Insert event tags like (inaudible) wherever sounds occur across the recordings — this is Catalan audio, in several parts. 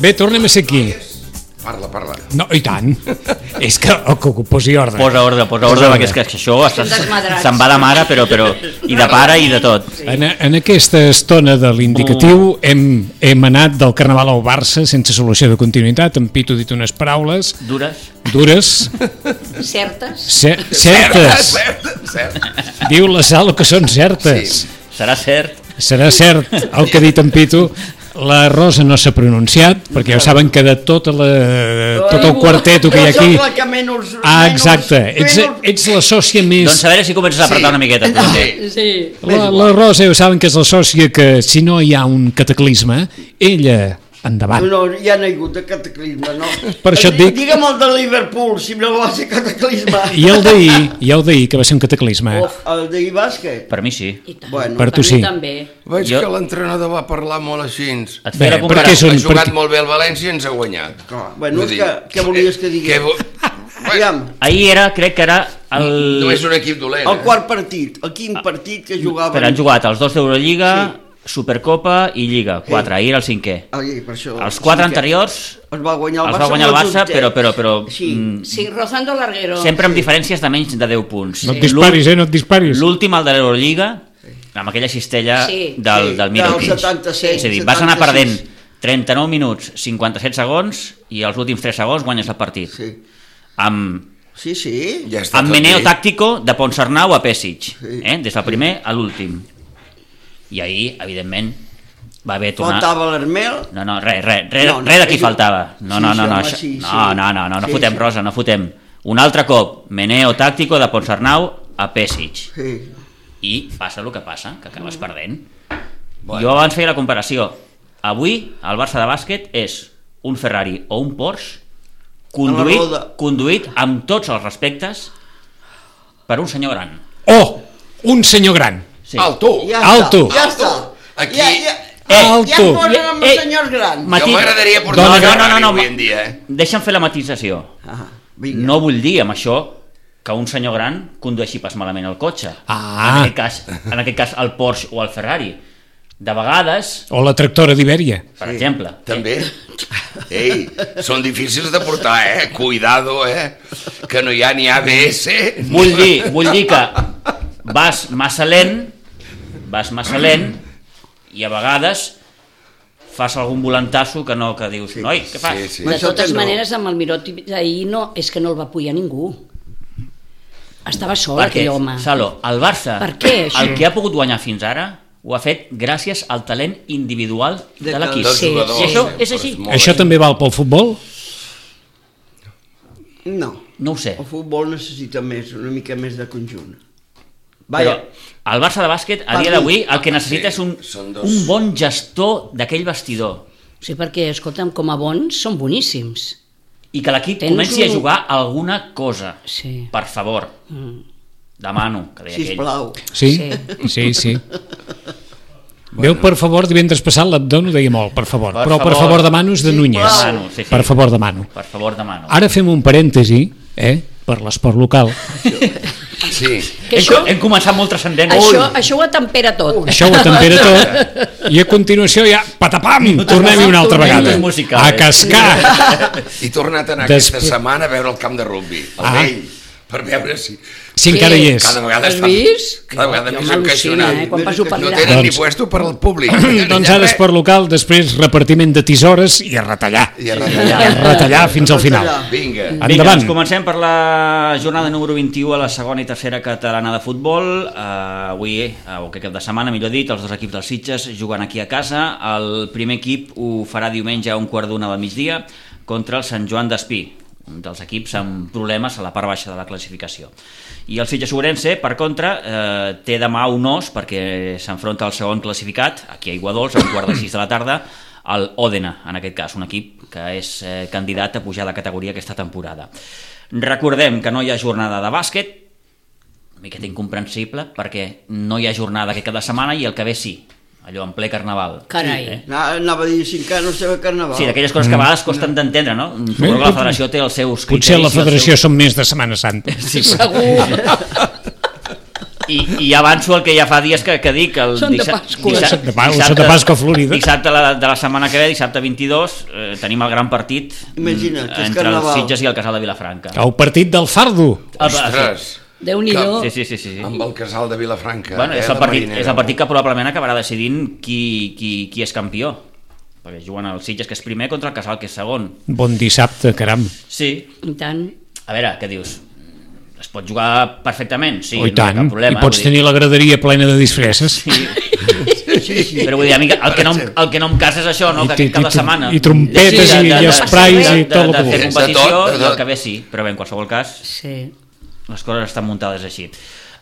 Bé, tornem a ser aquí. Parla, parla. No, i (laughs) tant. És que el que ho posi ordre. Posa ordre, posa ordre, perquè és que això Són desmadrats. se'n va de mare, però, però, i de pare i de tot. En, en aquesta estona de l'indicatiu hem, hem anat del Carnaval al Barça sense solució de continuïtat. En Pitu ha dit unes paraules Dures. dures, Certes? ce (laughs) certes. Cert, cert. Diu la Sal que són certes. Serà cert. Serà cert el que ha dit en Pitu. La Rosa no s'ha pronunciat, perquè ja ho saben que de tota la, tot el quarteto que hi ha Jo sóc la aquí... que menys... Ah, exacte. Ets, menys- Ah, ets la sòcia més... Doncs a veure si comences a apretar una miqueta. (laughs) tu, també. Sí. La, la Rosa, ho saben que és la sòcia que, si no hi ha un cataclisme, ella, endavant. No, ja n'ha hagut de cataclisme, no? Eh, Per això et dic- Digue'm el de Liverpool, si no va ser cataclisme. I el d'ahir, i el d'ahir, que va ser un cataclisme. Oh, el d'ahir bàsquet. Per mi sí. I tant. Bueno, Per tu mi sí. també. Veig Jo- que l'entrenador va parlar molt així. Et feia Bé, la comparació. perquè és un- Ha jugat perquè- molt bé el València i ens ha guanyat. Clar, bueno, Vull dir, que- què volies que digués? (laughs) que vo- Aviam, Ahir era, crec que era el... No és un equip dolent. el eh? quart partit, el quin partit que jugaven... Però han jugat els dos d'Eurolliga, Supercopa i Lliga. Quatre. Ahir era el cinquè. Ai, per això, Els quatre Ah, sí que- anteriors Es va guanyar el els Barça. va guanyar el amb els Barça, dotzets. però, però, però Sí. mm, Sí, Rozando Larguero. sempre amb diferències de menys de 10 punts. No et disparis, eh? No et disparis. L'últim, el de l'Eurolliga, amb aquella cistella Sí. del, Sí, del Mirotic. del 77, És a dir, vas anar 76. perdent 39 minuts, 57 segons, i els últims 3 segons guanyes el partit. Sí, Amb, sí. sí. Ja està amb tot meneo dit. tàctico de Ponsarnau a Pesic, eh? des del primer a l'últim. I ahir, evidentment, va haver tornar... Faltava l'Armel. No, no, res, res, res, No, no, no, no, res de qui és- faltava. No, Sí, no, sí, no, no, home, això- sí, no, sí. no, no, no Sí, fotem, sí. Rosa, no fotem. Un altre cop, meneo tàctico de Ponsarnau a Pesic. Sí. I passa el que passa, que acabes perdent. Bueno. Jo abans feia la comparació. Avui, el Barça de bàsquet és un Ferrari o un Porsche A la conduït, roda. conduït amb tots els respectes per un senyor gran. Oh, un senyor gran. Sí. Alto! Ja Ja. està, Alto. Ja està. Aquí- Ja, ja, Eh, ja Alto. es posen amb Eh, els senyors grans. Mati- Jo m'agradaria portar Dona, un no, no, Ferrari no, no, avui ma- en dia, eh? Deixa'm fer la matització. Ah, vinga. No vull dir amb això que un senyor gran condueixi pas malament el cotxe. Ah. En, aquest cas, en aquest cas el Porsche o el Ferrari. De vegades, O la tractora d'Ibèria. per exemple... També. Ei, són difícils de portar, eh? Cuidado, eh? Que no hi ha ni ABS. Vull dir, vull dir que vas massa lent, vas massa lent, i a vegades fas algun volantasso que no, que dius, noi, què fas? Sí, sí. De Això totes tens raó. maneres, amb el Miroti ahir no, és que no el va apujar ningú. Estava sol, Perquè, aquell home. Salo, el Barça, Per què, això? el que ha pogut guanyar fins ara, ho ha fet gràcies al talent individual de, De l'equip. Dos Sí, jugadors, sí. Això eh? és Però així. molt Això bé. també val pel futbol? No. No ho sé. El futbol necessita més, una mica més de conjunt. Però Vaja, el Barça de bàsquet, a dia Parlo. d'avui, el que necessita Sí, és un, són dos. un bon gestor d'aquell vestidor. Sí, perquè, escolta'm, com a bons, són boníssims. I que l'equip Tens comenci a un- jugar alguna cosa. Sí. Per favor. Mm. Demano, que deia aquell. sisplau. Sí, sí, sí. Veu, per favor, divendres passat l'abdono deia molt, per favor. Per Però per favor favor. demanos de Sí, Núñez. demano, sí, sí. Per favor demano. Per favor, demano. Ara fem un parèntesi, eh, per l'esport local. Sí. Que hem, això, co- hem començat molt transcendent. això, això ho atempera tot. Això ho atempera tot. I a continuació ja, patapam, tornem-hi una altra tornem-hi vegada. musical, A eh? cascar. I he tornat a anar Des- aquesta setmana a veure el camp de rugby, el Ah. ah. vell, per veure si... Si encara hi és. (clears throat) Cada vegada Has està, vist? cada vegada Jo més m'al·lucino, encaixonat. eh, quan passo per no allà. (laughs) tenen ni Doncs- puesto per al públic. Doncs ara esport local, després repartiment de tisores i a retallar. I a retallar. I a retallar fins al final. Vinga. Vinga, Endavant. doncs comencem per la jornada número 21 a la segona i tercera catalana de futbol. Uh, avui, uh, o aquest cap de setmana, millor dit, els dos equips dels Sitges juguen aquí a casa. El primer equip ho farà diumenge a un quart d'una del migdia contra el Sant Joan d'Espí, un dels equips amb problemes a la part baixa de la classificació. I el Sitges Obrense, per contra, eh, té demà un os perquè s'enfronta al segon classificat, aquí a Iguadols, a un quart de sis de la tarda, al Òdena, en aquest cas, un equip que és eh, candidat a pujar de categoria aquesta temporada. Recordem que no hi ha jornada de bàsquet, una miqueta incomprensible, perquè no hi ha jornada aquest cap de setmana i el que ve sí, allò en ple carnaval. Carai. Sí, eh? Ana- Anava a dir, si encara no sabeu carnaval. Sí, d'aquelles coses que a Mm. vegades costen d'entendre, no? Suposo que la federació té els seus criteris. Potser la i els federació seus- som més de Setmana Santa. Sí, segur. I, I avanço el que ja fa dies que, que dic. El Són de dissa- Pasqua. dissa- Són de Pasqua, són de Pasqua Florida. Dissabte la, de la setmana que ve, dissabte 22, eh, tenim el gran partit Imagina't, mm, que és entre Carnaval. els Sitges i el Casal de Vilafranca. El partit del fardo. Ah, va, Ostres! Déu-n'hi-do. Sí, sí, sí. sí, sí. Amb el casal de Vilafranca. Bueno, eh, és, el de partit, Marinera. és el partit que probablement acabarà decidint qui, qui, qui és campió. Perquè juguen el Sitges, que és primer, contra el Casal, que és segon. Bon dissabte, caram. Sí, I tant. a veure, què dius? Es pot jugar perfectament, sí, oh, i tant. no hi ha cap problema. I pots vull dir. tenir la graderia plena de disfresses. Sí, Sí, sí. (laughs) Però vull dir, a mi el que no, em- el que no em casa és això, no? I Que ti- aquest cap i de tu- setmana... i trompetes i- i sprays de- i tot lo de, que de fer vulguis. competició De tot, de i el tot. que ve sí, però bé, en qualsevol cas, Sí. les coses estan muntades així.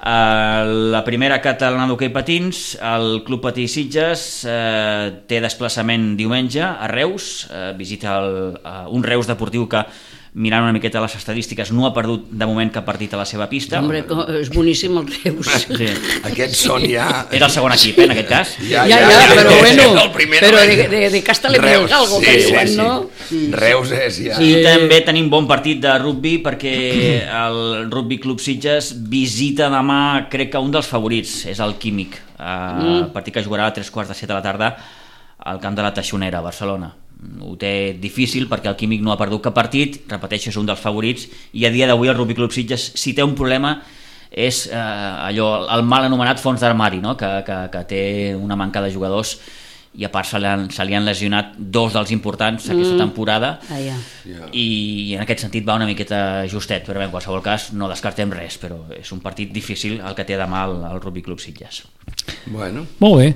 Uh, la primera catalana d'hoquei patins, el Club Patí Sitges uh, té desplaçament diumenge a Reus, uh, visita el, uh, un Reus deportiu que mirant una miqueta les estadístiques no ha perdut de moment cap partit a la seva pista Hombre, co- és boníssim el Reus. sí. Aquests són ja... era el segon equip eh, en aquest cas Ja, ja, però bueno, però de- de- de casta le pega Reus, algo, que diuen, no? Sí. Reus és ja... I Sí. també tenim bon partit de rugby perquè el Rugby Club Sitges visita demà, crec que un dels favorits, és el Químic. Uh, mm. Partit que jugarà a tres quarts de set de la tarda al camp de la Taixonera, a Barcelona. Ho té difícil perquè el Químic no ha perdut cap partit, repeteixo, és un dels favorits, i a dia d'avui el Rugby Club Sitges, si té un problema, és eh, allò, el mal anomenat fons d'armari, no? que, que, que té una manca de jugadors i a part se li han, se li han lesionat dos dels importants aquesta temporada Ah, ja. i en aquest sentit va una miqueta justet, però bé, en qualsevol cas no descartem res, però és un partit difícil el que té demà el, el Rugby Club Sitges. Bueno. Molt bé.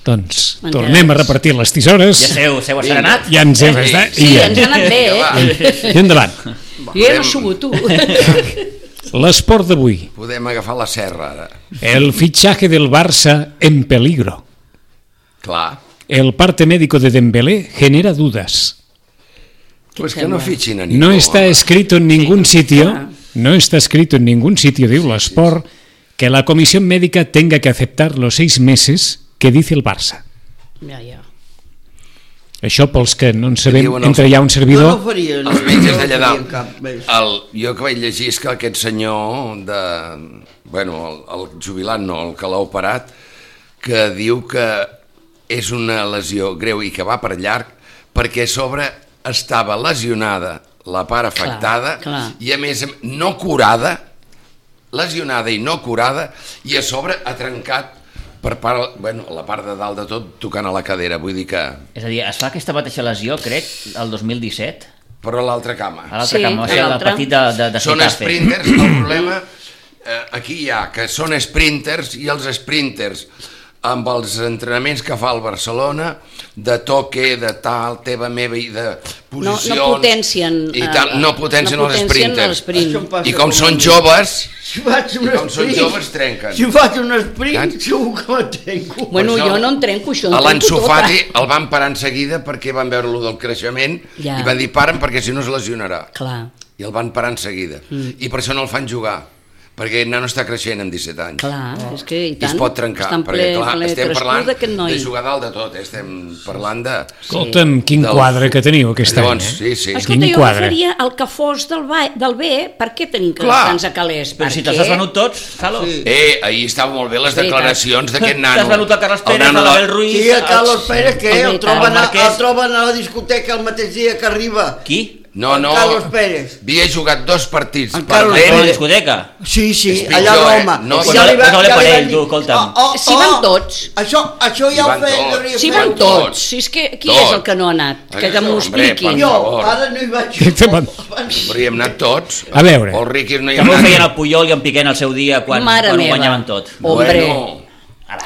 Doncs M'encanta. tornem a repartir les tisores. Ja seu, seu asserenat? Ja ens hem Sí, estat. eh? Sí, I, ens ha anat bé, Va, eh? I endavant. Jo ja no subo, tu. (laughs) L'esport d'avui. podem agafar la serra ara. El fichaje del Barça en peligro. Clar. El parte médico de Dembélé genera dudas. Pues que no fitxin a ningú. No está home. escrito en ningún sitio, no está escrito en ningún sitio, digo la Sport, que la comisión médica tenga que aceptar los seis meses que dice el Barça. Ja, ja. Això pels que no en sabem, diuen els- entre ja un No, no ho servidor, faria. No, Els metges Ah. no ho faria d'allà dalt. cap, més. El, jo que vaig llegir és que aquest senyor de... Bueno, el, el jubilant no, el que l'ha operat, que diu que és una lesió greu i que va per llarg perquè a sobre estava lesionada la part afectada clar. i a més no curada lesionada i no curada i a sobre ha trencat per part, bueno, la part de dalt de tot tocant a la cadera, vull dir que És a dir, es fa aquesta mateixa lesió, crec, el 2017, però a l'altra cama a l'altre Sí, sí, camp, no? a Això del l'altre. partit de, de, de són Getafe. sprinters, el problema eh, aquí hi ha que són sprinters i els sprinters amb els entrenaments que fa el Barcelona de toque, de tal, teva, meva i de No, posicions... no potencien... I tal, eh, no potencien, no els potencien sprinters. l'esprint. Això em passa I com com a són mi. joves, Si faig un I com són sprint, joves, trenquen. Si faig un sprint, Ja. segur que la trenco. Bueno, Per això, jo no en trenco, això a en trenco tota. l'Ensofati el van parar en seguida perquè van veure lo del creixement Ja. i van dir paren perquè si no es lesionarà. Clar, I el van parar en seguida. Mm. I per això no el fan jugar, perquè el nano està creixent amb 17 anys. clar, és que i Oh. I tant. es pot trencar, està en perquè clar, ple estem crescut parlant d'aquest noi. de jugar dalt de tot, eh? estem parlant de... escolta'm, quin del- quadre que teniu aquest any, Llavors, eh? sí, sí. Escolta, Quin jo quadre. faria el que fos del, ba... del bé, per què tenim que Clar. tants a calés? Per Però si què? te'ls has venut tots, Salo? Sí. Sí. Eh, ahir estaven molt bé les Veritat. declaracions d'aquest nano. T'has venut a Carles El Pérez, a nano l'Abel de- Ruiz... Sí, a al- Carlos Pérez, que El el troben, a, Marquès. el troben a la discoteca el mateix dia que arriba. Qui? No, no, Carlos Pérez. havia jugat dos partits En per Carlos A la l'Ell. discoteca? Sí, sí, És pitjor, allà a eh? Roma. No, I però li posa-li va- ja li parell, van tu, dir, escolta'm. Si van tots. Oh, Això, això Si ja ho van feia. tots. devia Si fer. van tots, Tots. si és que qui Tots. és el que no ha anat? Que, Eh, que m'ho hombre, per expliquin. Jo, favor. ara no hi (laughs) vaig. Sí, van- Hauríem anat tots. A veure. El Riqui no hi ha També ho anat. feien el Puyol i en Piqué en el seu dia quan, Mare quan ho meva. guanyaven tot. Hombre. Bueno,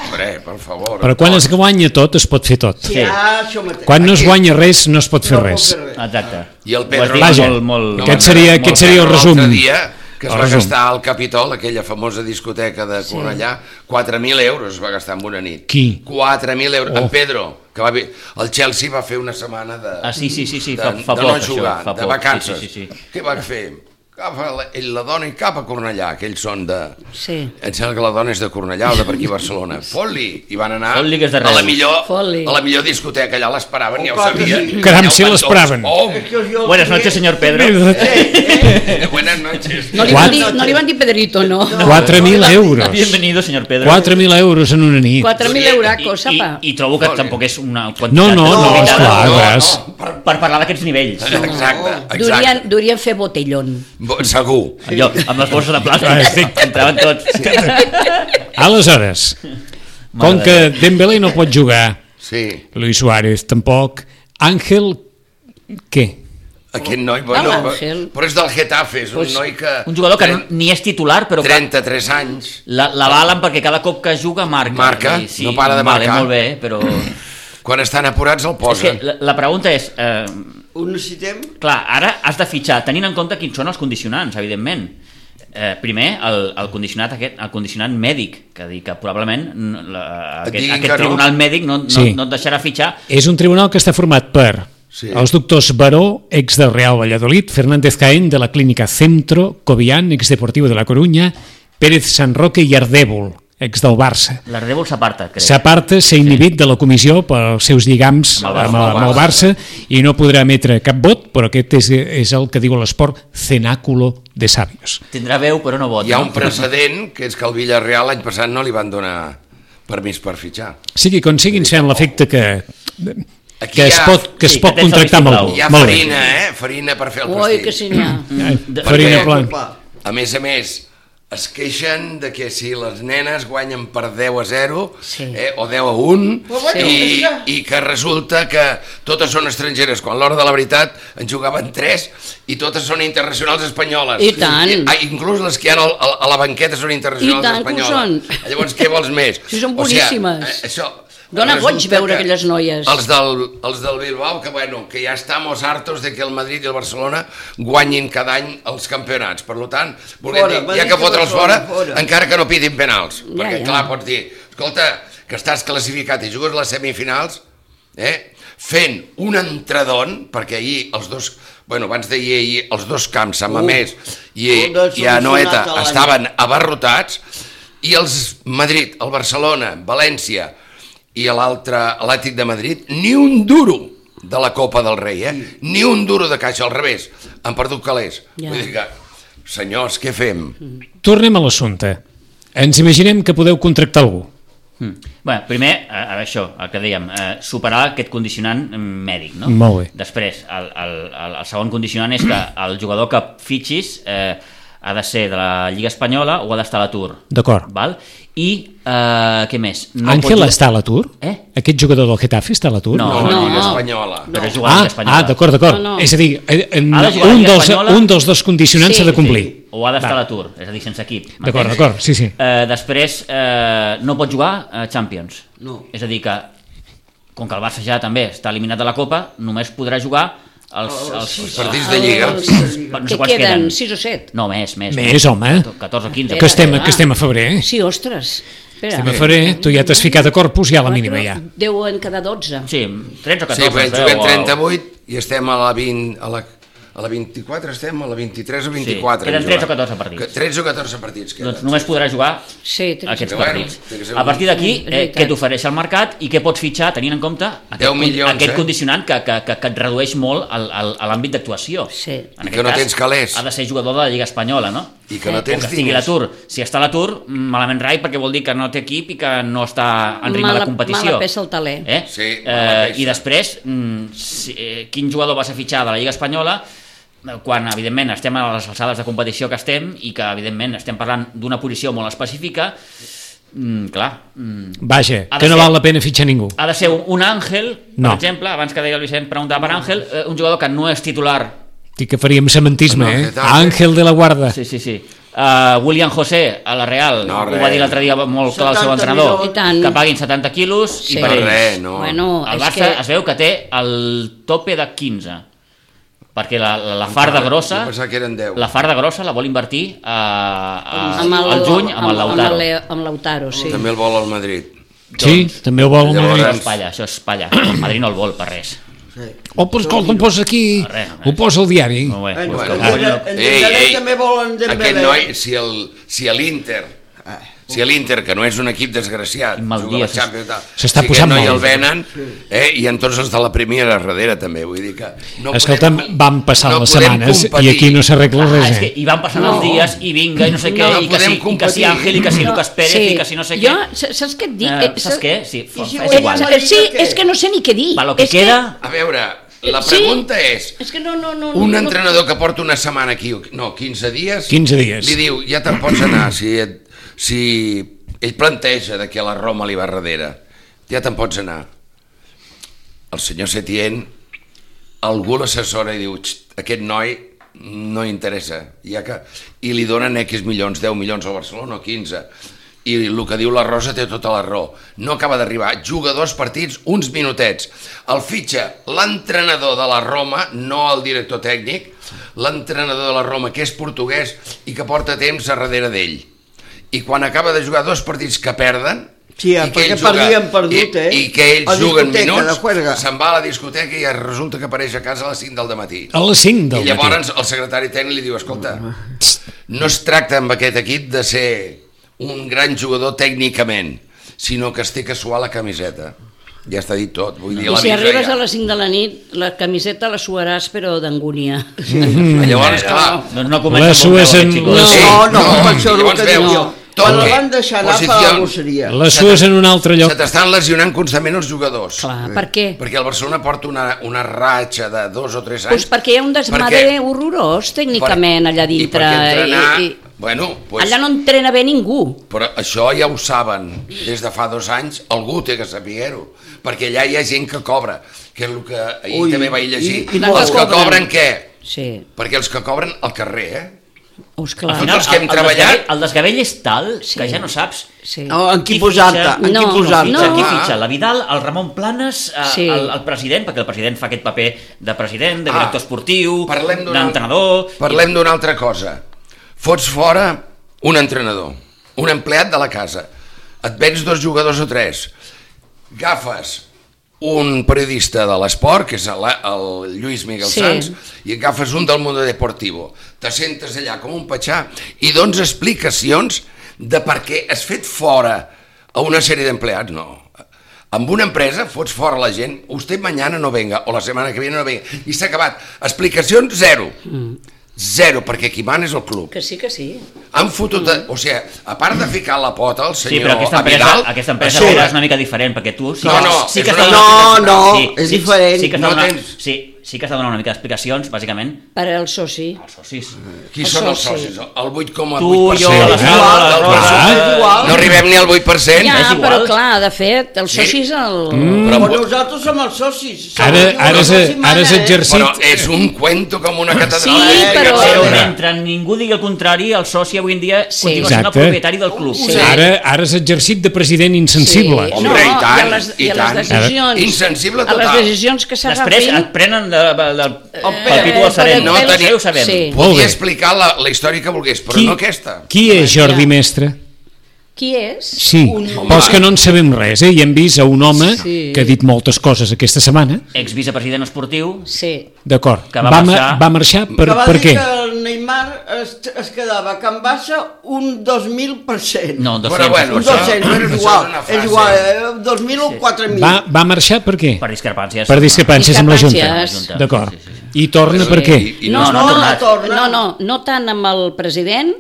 hombre, per favor. Però quan es guanya tot, es pot fer tot. Sí, ah, això mateix. Quan no es Aquí- guanya res, no es pot fer No puc res. fer res. Exacte. I el Ho has Pedro... dit Vaja, molt, molt... aquest seria- molt aquest seria el Pedro resum. L'altre dia, que es El va resum. gastar al Capitol, aquella famosa discoteca de Cornellà, 4.000 euros es va gastar en una nit. Qui? 4.000 euros. Oh. En Pedro, que va... vi- El Chelsea va fer una setmana de... Ah, sí, sí, sí, sí, de, fa- fa de poc, no això, jugar, fa de poc, vacances. sí, sí, sí. Què va fer? Agafa la, ell la dona i cap a Cornellà, que ells són de... Sí. Em sembla que la dona és de Cornellà o de per aquí a (laughs) Barcelona. Fot-li! I van anar Fot-li, que és de a la Reus. millor, Fot-li. a la millor discoteca, allà l'esperaven, Oh, ja ho clar que sabien. sí. Caram, Allà si ho van l'esperaven. tots. Oh, Es que os digo Buenas que- noches, señor Pedro. eh, (laughs) buenas noches. No li, What? van dir, no li van dir Pedrito, no. No. 4.000 euros. Bienvenido, señor Pedro. 4.000 euros en una nit. 4.000 euracos, I, sapa. i, I trobo que Molt bé. tampoc és una quantitat... No, no, no, esclar, desorbitada ves. per... Per parlar d'aquests nivells. Exacte, exacte. Durien, durien fer botellón. Bo- Segur. Allò, amb les bosses de plata, Ah, estic- entraven tots. Aleshores, com Mare que Dembélé no pot jugar, Sí. Luis Suárez tampoc, Àngel, què? Aquest noi, bueno, Ah, l'Àngel. però, però és del Getafe, és un noi que... Un jugador que no- ni és titular, però que 33 anys. la, la valen perquè cada cop que juga marca. Marca, I no para de vale, marcar. Molt bé, eh, però... Quan estan apurats el és que posen. la, la pregunta és... Eh, Ho necessitem? clar, ara has de fitxar, tenint en compte quins són els condicionants, evidentment. Eh, primer, el, el condicionat aquest, el condicionat mèdic, que dir que probablement n- la, Et aquest, diguin aquest que no. tribunal mèdic no, no, Sí. no et deixarà fitxar. És un tribunal que està format per Sí. els doctors Baró, ex del Real Valladolid, Fernández Caén, de la clínica Centro, Cobian, ex Deportivo de la Coruña, Pérez San Roque i Ardèvol, ex del Barça. L'Ardèvol s'aparta, crec. S'aparta, s'ha inhibit de la comissió pels seus lligams Amb amb el Barça. el, amb el Barça i no podrà emetre cap vot, però aquest és, és el que diu l'esport cenáculo de sàvios. Tindrà veu, però no vota. Hi ha un no? precedent, que és que al Villarreal l'any passat no li van donar permís per fitxar. Sigui com siguin, sent l'efecte que, Aquí que hi es ha- pot, que es sí, pot que tens el contractar amb vistiplau. algú. Hi ha Molt bé. farina, eh? Farina per Ah, fer el Ui, que pastís. (clears throat) sí n'hi ha. De- Farina perquè- plan. Va. A més a més, es queixen de que si les nenes guanyen per 10 a 0 Sí. eh, o 10 a 1 Però bueno, i, mira. i que resulta que totes són estrangeres quan a l'hora de la veritat en jugaven 3 i totes són internacionals espanyoles I tant. ah, inclús les que hi ha al, al, a la banqueta són internacionals I tant que ho espanyoles són. llavors què vols més? Sí, són O sigui, boníssimes. eh, això, Dona resulta goig veure que aquelles noies. Els del, els del Bilbao, que bueno, que ja estamos hartos de que el Madrid i el Barcelona guanyin cada any els campionats. Per lo tant, volguem Fora, dir, hi ha Madrid que i fotre'ls fora, Barcelona, fora. encara que no pidin penals. Ja, perquè, ja. clar, pots dir, escolta, que estàs classificat i jugues les semifinals, eh, fent un entredon, perquè ahir els dos, bueno, abans d'ahir, ahir, els dos camps, a Mamés i, Uh, un dels i a Noeta, solucionats de l'any. estaven abarrotats, i els Madrid, el Barcelona, València i l'altre, l'Àtic de Madrid, ni un duro de la Copa del Rei, eh? Ni un duro de caixa, al revés. Han perdut calés. Ja. Vull dir que, senyors, què fem? Tornem a l'assumpte. Ens imaginem que podeu contractar algú. Bé, primer, eh, a veure això, el que dèiem, eh, superar aquest condicionant mm, mèdic, no? Molt bé. Després, el, el, el, el segon condicionant és que el jugador que fitxis eh, ha de ser de la Lliga Espanyola o ha d'estar a l'atur. D'acord. Val? I, eh, què més? No pot Àngel jugar- està a l'atur? Eh? Aquest jugador del Getafe està a l'atur? No. No, la No. Doncs Lliga Espanyola. Però és jugar a la Ah, Lliga Espanyola. ah d'acord, d'acord. No, No, no. no. És a dir, eh, en, Ha de jugar a la un, Lliga dels, Espanyola? un dels dos condicionants Sí, s'ha de complir. O ha d'estar Va. a l'atur, és a dir, sense equip. D'acord, m'entens? d'acord, sí, sí. Eh, després, eh, no pot jugar a Champions. No. És a dir, que com que el Barça ja també està eliminat de la Copa, només podrà jugar els... els, Ah, Els partits de Lliga. Els- no sé Que quants queden queden. 6 o 7. No, més, més. Més, home. 14 o 15. Que estem, Espera, que estem a febrer. eh? Sí, ostres. Espera. Estem a febrer. Tu ja t'has ficat a corpus, ja a la mínima, ja. Deuen quedar 12. Sí, 13 o 14. Sí, perquè es veu, eh? juguem o- 38 i estem a la 20... A la, a la 24 estem, a la 23 o 24. queden hem 13 o jugat. 14 partits. Que- 13 o 14 partits queden. Doncs només podrà jugar Sí, tres. aquests Però bueno, partits. té que ser A un- partir d'aquí, Mm, és eh, veritat. què t'ofereix el mercat i què pots fitxar tenint en compte aquest, con- milions, aquest eh? condicionant que, que, que, que et redueix molt al- al- a l'àmbit d'actuació. Sí. En I aquest que no cas, tens calés. Ha de ser jugador de la Lliga Espanyola, no? I que no O tens que estigui a diners. l'atur. Si està a l'atur, malament rai, perquè vol dir que no té equip i que no està en ritme Mala- de competició. mala peça al taler. Eh? Sí, mala eh, peça. I després, mm, si, eh, quin jugador vas a fitxar de la Lliga Espanyola eh, quan, evidentment, estem a les alçades de competició que estem i que, evidentment, estem parlant d'una posició molt específica, mm, clar, mm, Vaja, Ha de que no ser- val la pena fitxar ningú. ha de ser un, un àngel, per No. exemple, abans que deia el Vicent, preguntava per àngel, eh, un jugador que no és titular Dic que faríem cementisme, No, eh? que tal, eh? Àngel de la Guarda. Sí, sí, sí. Uh, William José, a la Real, No, no, ho res. va dir l'altre dia molt clar el seu 70 entrenador, milions. I tant. que paguin 70 quilos Sí. i per No, ells. res, no. Bueno, el és Barça que... es veu que té el tope de 15, perquè la, la, la farda Encara, grossa... jo pensava que eren 10. La farda grossa la vol invertir eh, a, Amb el, al juny amb el Lautaro. Amb, el, amb Lautaro, sí. També el vol al Madrid. Doncs. Sí, també ho vol. Llavors- Això és palla, això és palla. El Madrid no el vol per res. Sí. Oh, pues escolta, em posa aquí, Res, res. ho posa al diari. Molt bé. Bueno, Doncs Bueno, que en eh, Dembélé- lloc- en Dembélé també volen Ah. Dembélé. Aquest noi, si el, si a l'Inter... Si a l'Inter, que no és un equip desgraciat, Mal juga dia, a la Champions i tal, s'està si posant aquest noi mal. el venen, eh, i en tots els de la primera darrere també, vull dir que... No Escolta'm, podem- van passar no les podem setmanes i competir. aquí no s'arregla Ah, és res, que eh? hi van passant els dies, i vinga, i no sé què, No, i, que si, i podem que si competir. Àngel, i que si Lucas Pérez, i que si no sé jo, què... sa- Saps què et dic? Eh, Eh, saps sa- què? Sí, fa, si fa, és guanyem igual. la Eh, sí, què? és que no sé ni què dir. Va, lo que és queda... A veure, la Sí. pregunta és, Que, és que no, no, no, un no, entrenador que porta una setmana aquí, no, 15 dies, 15 dies. li diu, ja te'n pots anar, si, et, si ell planteja de que a la Roma li va darrere, ja te'n pots anar. El senyor Setién, algú l'assessora i diu, "Xt, aquest noi no interessa, ja que... i li donen X milions, 10 milions al Barcelona o 15, i el que diu la Rosa té tota la raó. No acaba d'arribar, juga dos partits, uns minutets. El fitxa l'entrenador de la Roma, no el director tècnic, l'entrenador de la Roma, que és portuguès i que porta temps a darrere d'ell. I quan acaba de jugar dos partits que perden, Sí, i que perquè ells juga- perdien perdut, i, eh? I que ells A juguen discoteca, minuts, de juerga. se'n va a la discoteca i resulta que apareix a casa a les 5 del matí. A les 5 I del matí. llavors el secretari tècnic li diu, escolta, no es tracta amb aquest equip de ser un gran jugador tècnicament, sinó que es té que suar la camiseta. Ja està dit tot. Vull dir, I la si missa arribes ja. a les 5 de la nit, la camiseta la suaràs, però d'angúnia. Llavors, clar, Doncs no Les comença molt sues bé, en- aquest xicot. les- No, no, no, per això el llavors que veu, diu jo. no. Quan la Toque, van deixar anar fa posición. la gosseria. Les sues en un altre Se lloc. t'estan lesionant constantment els jugadors. Clar, per què? Perquè el Barcelona porta una, una ratxa de dos o tres anys. Pues perquè hi ha un desmadre Doncs Perquè- horrorós tècnicament allà dintre. I perquè entrenar... i, Bueno, i... pues, Allà no entrena bé ningú. Però això ja ho saben des de fa dos anys, algú té que saber-ho, perquè allà hi ha gent que cobra, que és el que ahir Ui, Ui, també vaig llegir. i- i no els que cobren. cobren què? Sí, Perquè els que cobren al carrer, eh? oh, esclar. Al Al final, Tots que hem el, el, treballat- desgavell, el desgavell és tal que ja no saps Sí. No, en qui Qui posar-te, fitxa? en qui No, posar-te. Ah. Fitxa, No. qui fitxa? La Vidal, el Ramon Planes, eh, Sí. el, el president, perquè el president fa aquest paper de president, de Ah, director esportiu, Parlem d'una- d'entrenador... Parlem d'una altra cosa. Fots fora un entrenador, un empleat de la casa, et vens dos jugadors o tres, agafes un periodista de l'esport, que és el, el Lluís Miguel Sí. sí. Sanz, i agafes un del Mundo Deportivo. Te sentes allà com un petxà i dones explicacions de per què has fet fora a una sèrie d'empleats. No. Amb una empresa fots fora la gent, usted mañana no venga, o la setmana que viene no venga, i s'ha acabat. Explicacions zero. Mm. Zero, perquè qui mana és el club. Que sí, que sí. Han fotut... O sigui, a part de ficar la pota al Sí, senyor però aquesta empresa, Abidal, aquesta empresa això- era... és una mica diferent, perquè tu... Sí, No, que- no, sí és que una- has de donar- No, no, és diferent. Sí que has de No donar, tens- sí, sí que has de donar una mica d'explicacions, bàsicament, Per al soci. als socis. Qui els són els socis. socis? El 8,8%. Tu, jo, Sí, eh? la Sala, la Del Rosa... Clar. eh, Igual. No arribem ni al 8%. Ja, és igual. però clar, de fet, el Sí. Mm. soci és el... Però, Però nosaltres som els socis. som Ara, els ara, és, socis mana, ara és eh? exercit. però és un cuento com una catedral. Sí, eh? però- Aquest Però senyor. mentre ningú digui el contrari, el soci avui en dia Sí. continua sent el Exacte. propietari del club. Sí. Ara, ara s'ha exercit de president insensible. Sí. Home, No, i tant, i a les- i i a les tant. decisions. Insensible A les total. decisions que Després eh. s'agafin... et prenen de, de, de, el Eh, palpito per del serè. No fer-los- teniu- Ho sabem. Sí. Molt bé. Podia explicar la, la història que volgués, però no aquesta. Qui és Jordi Mestre? Qui és? Sí, però és que no en sabem res, eh? I hem vist a un home Sí. que ha dit moltes coses aquesta setmana. Ex-vicepresident esportiu, Sí. D'acord, Que va ma- marxar. va marxar per, que va per dir què? que el Neymar es, es quedava a Can Bassa un 2.000%. No, un 200%. Però bueno, un això- 200, però és això igual, una és frase. igual, eh, 2.000 o 4.000. Va, va marxar per què? per discrepàncies. Per discrepàncies amb la Junta. Discrepàncies. D'acord. Sí, sí, I torna per què? I, i No, no. no, no. ha tornat. torna. No, no, no tant amb el president,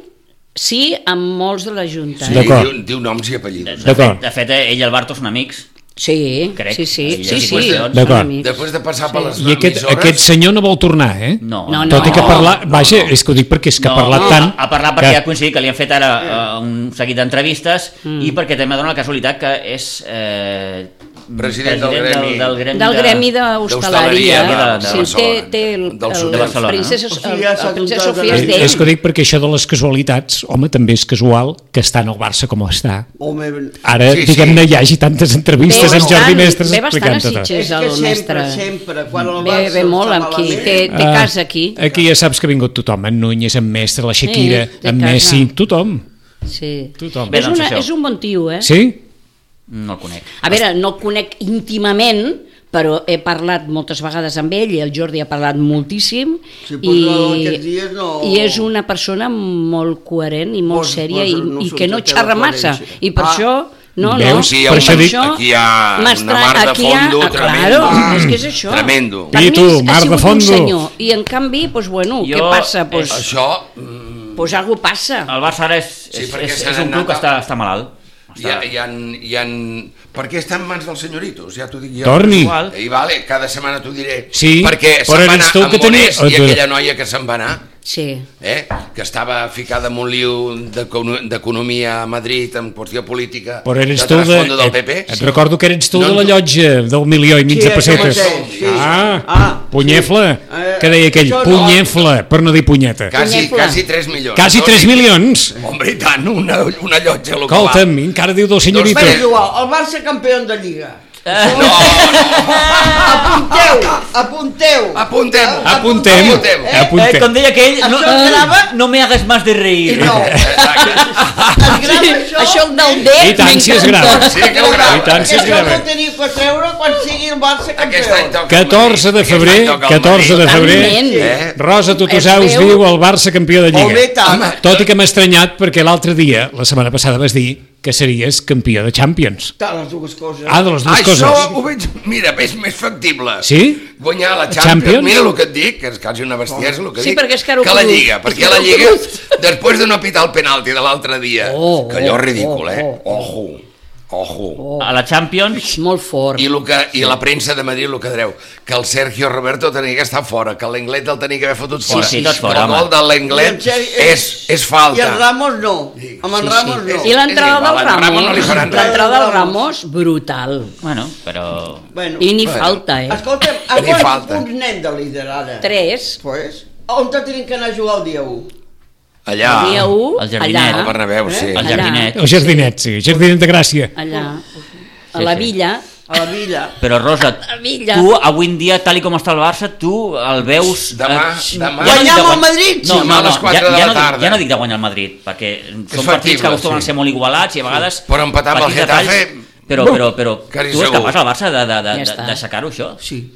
sí amb molts de la Junta. Sí, Sí, D'acord. diu, diu noms i apellidos. De fet, D'acord. de fet, eh, ell i el Barto són amics. sí, Crec. sí, sí, Sí, sí, sí, sí, qüestions. D'acord. són amics. Després de passar per les I aquest, emissores, aquest senyor no vol tornar, eh? No. No, Tot i que ha no, parlat... Vaja, és que ho dic perquè és que ha parlat no, tant... Ha, ha parlat perquè ha coincidit que li han fet ara eh, un seguit d'entrevistes Mm. i perquè també dona la casualitat que és... Eh, President del gremi. Del, del gremi, Del gremi d'hostaleria d'hostaleria. de- de Sí, té, Barcelona, té el, del sud de el, Barcelona, no? princesa, O sigui, el, ja el, s'ha princesa comptat Sofia de- és Eh, d'ell. És que ho dic perquè això de les casualitats, home, també és casual que està en el Barça com està. Home, Ara, Sí, sí. diguem-ne, hi hagi tantes entrevistes Ve amb Jordi bastant- Mestres ve bastant explicant a tot. Sitges. és el que sempre, mestre. sempre, quan el Bé, Barça bé, molt està amb qui, malament, té, té casa aquí. Ah, Aquí ja saps que ha vingut tothom, en Núñez, en Mestre, la Shakira, Eh, té en casa. Messi, tothom. Sí. Tothom. Bé, és, doncs una, això. és un bon tio, eh? Sí? No el conec. A veure, no el conec íntimament, però he parlat moltes vegades amb ell i el Jordi ha parlat moltíssim Sí, però no, i, aquests dies no- i és una persona molt coherent i molt Pues- sèria pues i, no i surt que no la teva xerra massa coherència. i per Ah. això no, no, Veus? Sí, Per per això això dic- aquí hi ha una m'estra- mar de aquí hi ha- fondo ah, tremendo. Claro, és que és això. Tremendo. Per I mi tu, és- ha mar de sigut un fondo. senyor. I en canvi, doncs, bueno, Jo- què passa? Doncs, eh, Això, mm, doncs alguna cosa passa. El Barça ara és, és, perquè és, se és n'ha un club anat que a- està, està malalt. hi ha, hi ha, hi ha... Per què està en mans dels senyoritos? Ja t'ho dic jo. Eh, Torni. Igual. I vale, cada setmana t'ho diré. Sí, perquè però se'n va eres anar tu amb que tenies- Monés i aquella noia que se'n va anar. Sí. eh? que estava ficada en un liu d'econo- d'economia a Madrid en qüestió política Però eres de tu de... trasfondo del PP Et, et recordo que eres tu No, de la no. llotja del milió i mig Sí, de això pessetes. mateix, sí. Ah, Ah, punyefla, sí. Eh, que deia aquell, això no. punyefla, per no dir punyeta. quasi, Punyefla. quasi 3 milions Quasi No, 3 sí. milions. Hombre, i tant, una, una llotja local Escolta'm, encara diu del senyorito. Bé, Doncs és igual, el Barça campió de Lliga. no, no, Apunteu, Ah, apunteu. apuntem -ho. Apuntem. apuntem Eh, Apunte. Eh, com deia aquell, no, Això es grava? no me hagas más de reír. No, es grava Sí, això. Això el del D I tant, si es grava. sí que ho grava I tant, si es Això grava. no teniu que treure quan sigui el Barça Aquest any campió. toca el 14 de Madrid, febrer, aquest any toca el 14 de Madrid. febrer, Eh? Rosa Tutusaus Es veu- diu el Barça campió de Lliga. Home, i tant. Tot i que m'ha estranyat perquè l'altre dia, la setmana passada, vas dir que series campió de Champions. Tant les dues coses. Ah, de les dues Això coses. ho veig, mira, és més factible. Sí? Guanyar la Champions. Champions? Mira el que et dic, que és quasi una bestiesa el que Sí, dic. perquè és caro Que la cruz. Lliga, perquè la Lliga, després de no pitar el penalti de l'altre dia, Oh, que allò oh, és ridícul, oh, eh? oh, Ojo, ojo. A la Champions, molt fort. I, lo que, I la premsa de Madrid el que dreu, que el Sergio Roberto tenia que estar fora, que l'Englet el tenia que haver fotut fora. sí, tot fora, Però el home. gol de l'Englet és, és I el falta. Ramos no. Amb el Ramos no. I l'entrada És igual, del al Ramos no li Ramos, faran res. l'entrada del Ramos, brutal. bueno, però... Bueno, I ni Bueno. falta, eh? escolta'm, a Li quants falta. punts anem de liderada? Tres, Pues, on te tenim que anar a jugar el dia 1? Allà, el dia 1, al allà, jardinet, al Bernabéu, sí. Al Allà. jardinet. El jardinet, sí, el jardinet de Gràcia. allà, Sí, a la sí. villa, A la villa. Però Rosa, A la villa. tu avui en dia, tal i com està el Barça, tu el veus... eh, Demà- ja no demà- dic de Guanyam el guany- No, Madrid, sí, no, a no, les quatre ja, de ja la no, dic- tarda. ja no dic de guanyar el Madrid, perquè són partits factible, que acostumen a sí. ser molt igualats i a vegades... Però empatar amb el petits Getafe, detalls, Però, buf, però, però, quasi tu segur. és capaç al Barça de- de- de- Ja de- està. d'aixecar-ho, això? Sí.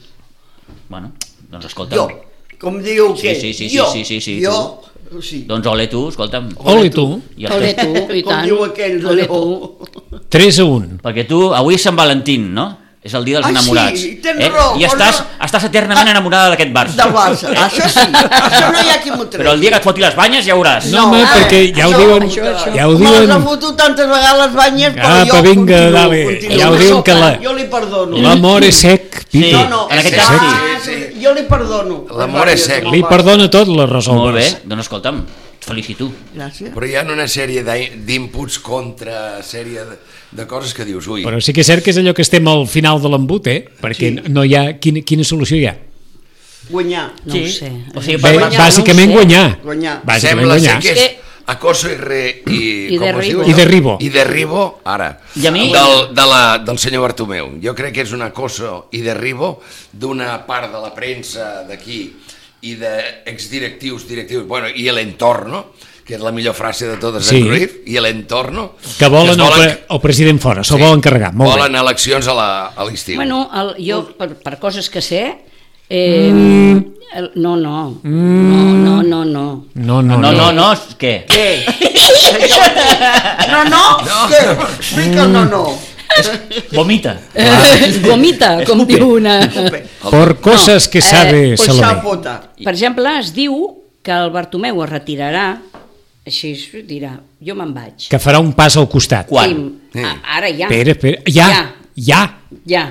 Bueno, doncs escolta'm. Jo. Com diu Sí, que sí, sí, sí, jo, sí, sí, sí, jo, sí. Doncs ole tu, escolta'm. Ole tu, I els ole teus- tu, i Com tant. diu aquell, ole allò. tu. 3 a 1. Perquè tu, avui és Sant Valentín, no? És el dia dels Ah, sí, enamorats. Eh? tens raó, I estàs, Rosa. estàs eternament Ah, enamorada d'aquest Barça. Del (laughs) Barça. Ah, Això sí, això no hi ha qui m'ho tregui. Però el dia que et foti les banyes ja veuràs. No, home, a perquè veure, ja ho això, diuen- això, això. ja ho Me les diuen- han fotut tantes vegades les banyes, però Apa, jo vinga, continuo, dale, continuo. ja ho Una diuen que sopa, la- Jo li perdono. L'amor és sec, Pipe. No, no, En aquest és cas sec. sí. Ah, Sí, sí. Jo li perdono. L'amor és sec. Li perdona tot la Rosa Molt bé, Albers. doncs escolta'm, et felicito. Gràcies. Però hi ha una sèrie d'in- d'inputs contra sèrie de, de coses que dius, ui, Però sí que és cert que és allò que estem al final de l'embut, eh? Perquè no hi ha... Quina, quina solució hi ha? Guanyar. No ho sé. O sigui, Bé, per guanyar, bàsicament no ho sé. guanyar. Guanyar. Bàsicament sembla guanyar. ser que és És que- acoso i, re, i, I com es derribo. diu? I derribo. I derribo, ara, I a mi- del, de la, del senyor Bartomeu. Jo crec que és un acoso i derribo d'una part de la premsa d'aquí i d'exdirectius, directius, bueno, i l'entorno, que és la millor frase de totes Sí. sí. en Cruyff, i l'entorno... Que volen, es el, pre el president fora, s'ho volen carregar. Molt volen eleccions a la- a l'estiu. Bueno, el, jo, per, per coses que sé, eh, mm. el, no, no, mm. no, no, no, no. bé. No, no, No, no, no, què? No, no? Què? Explica el no, no. Vomita. Ah. (laughs) Gomita, com Escupe. diu una... Por coses que eh, sabe Pues s'ha Salomé. pota. Per exemple, es diu que el Bartomeu es retirarà, així es dirà, jo me'n vaig. Que farà un pas al costat. Quan? I, a, ara ja. Espera, espera. Ja, ja. Ja.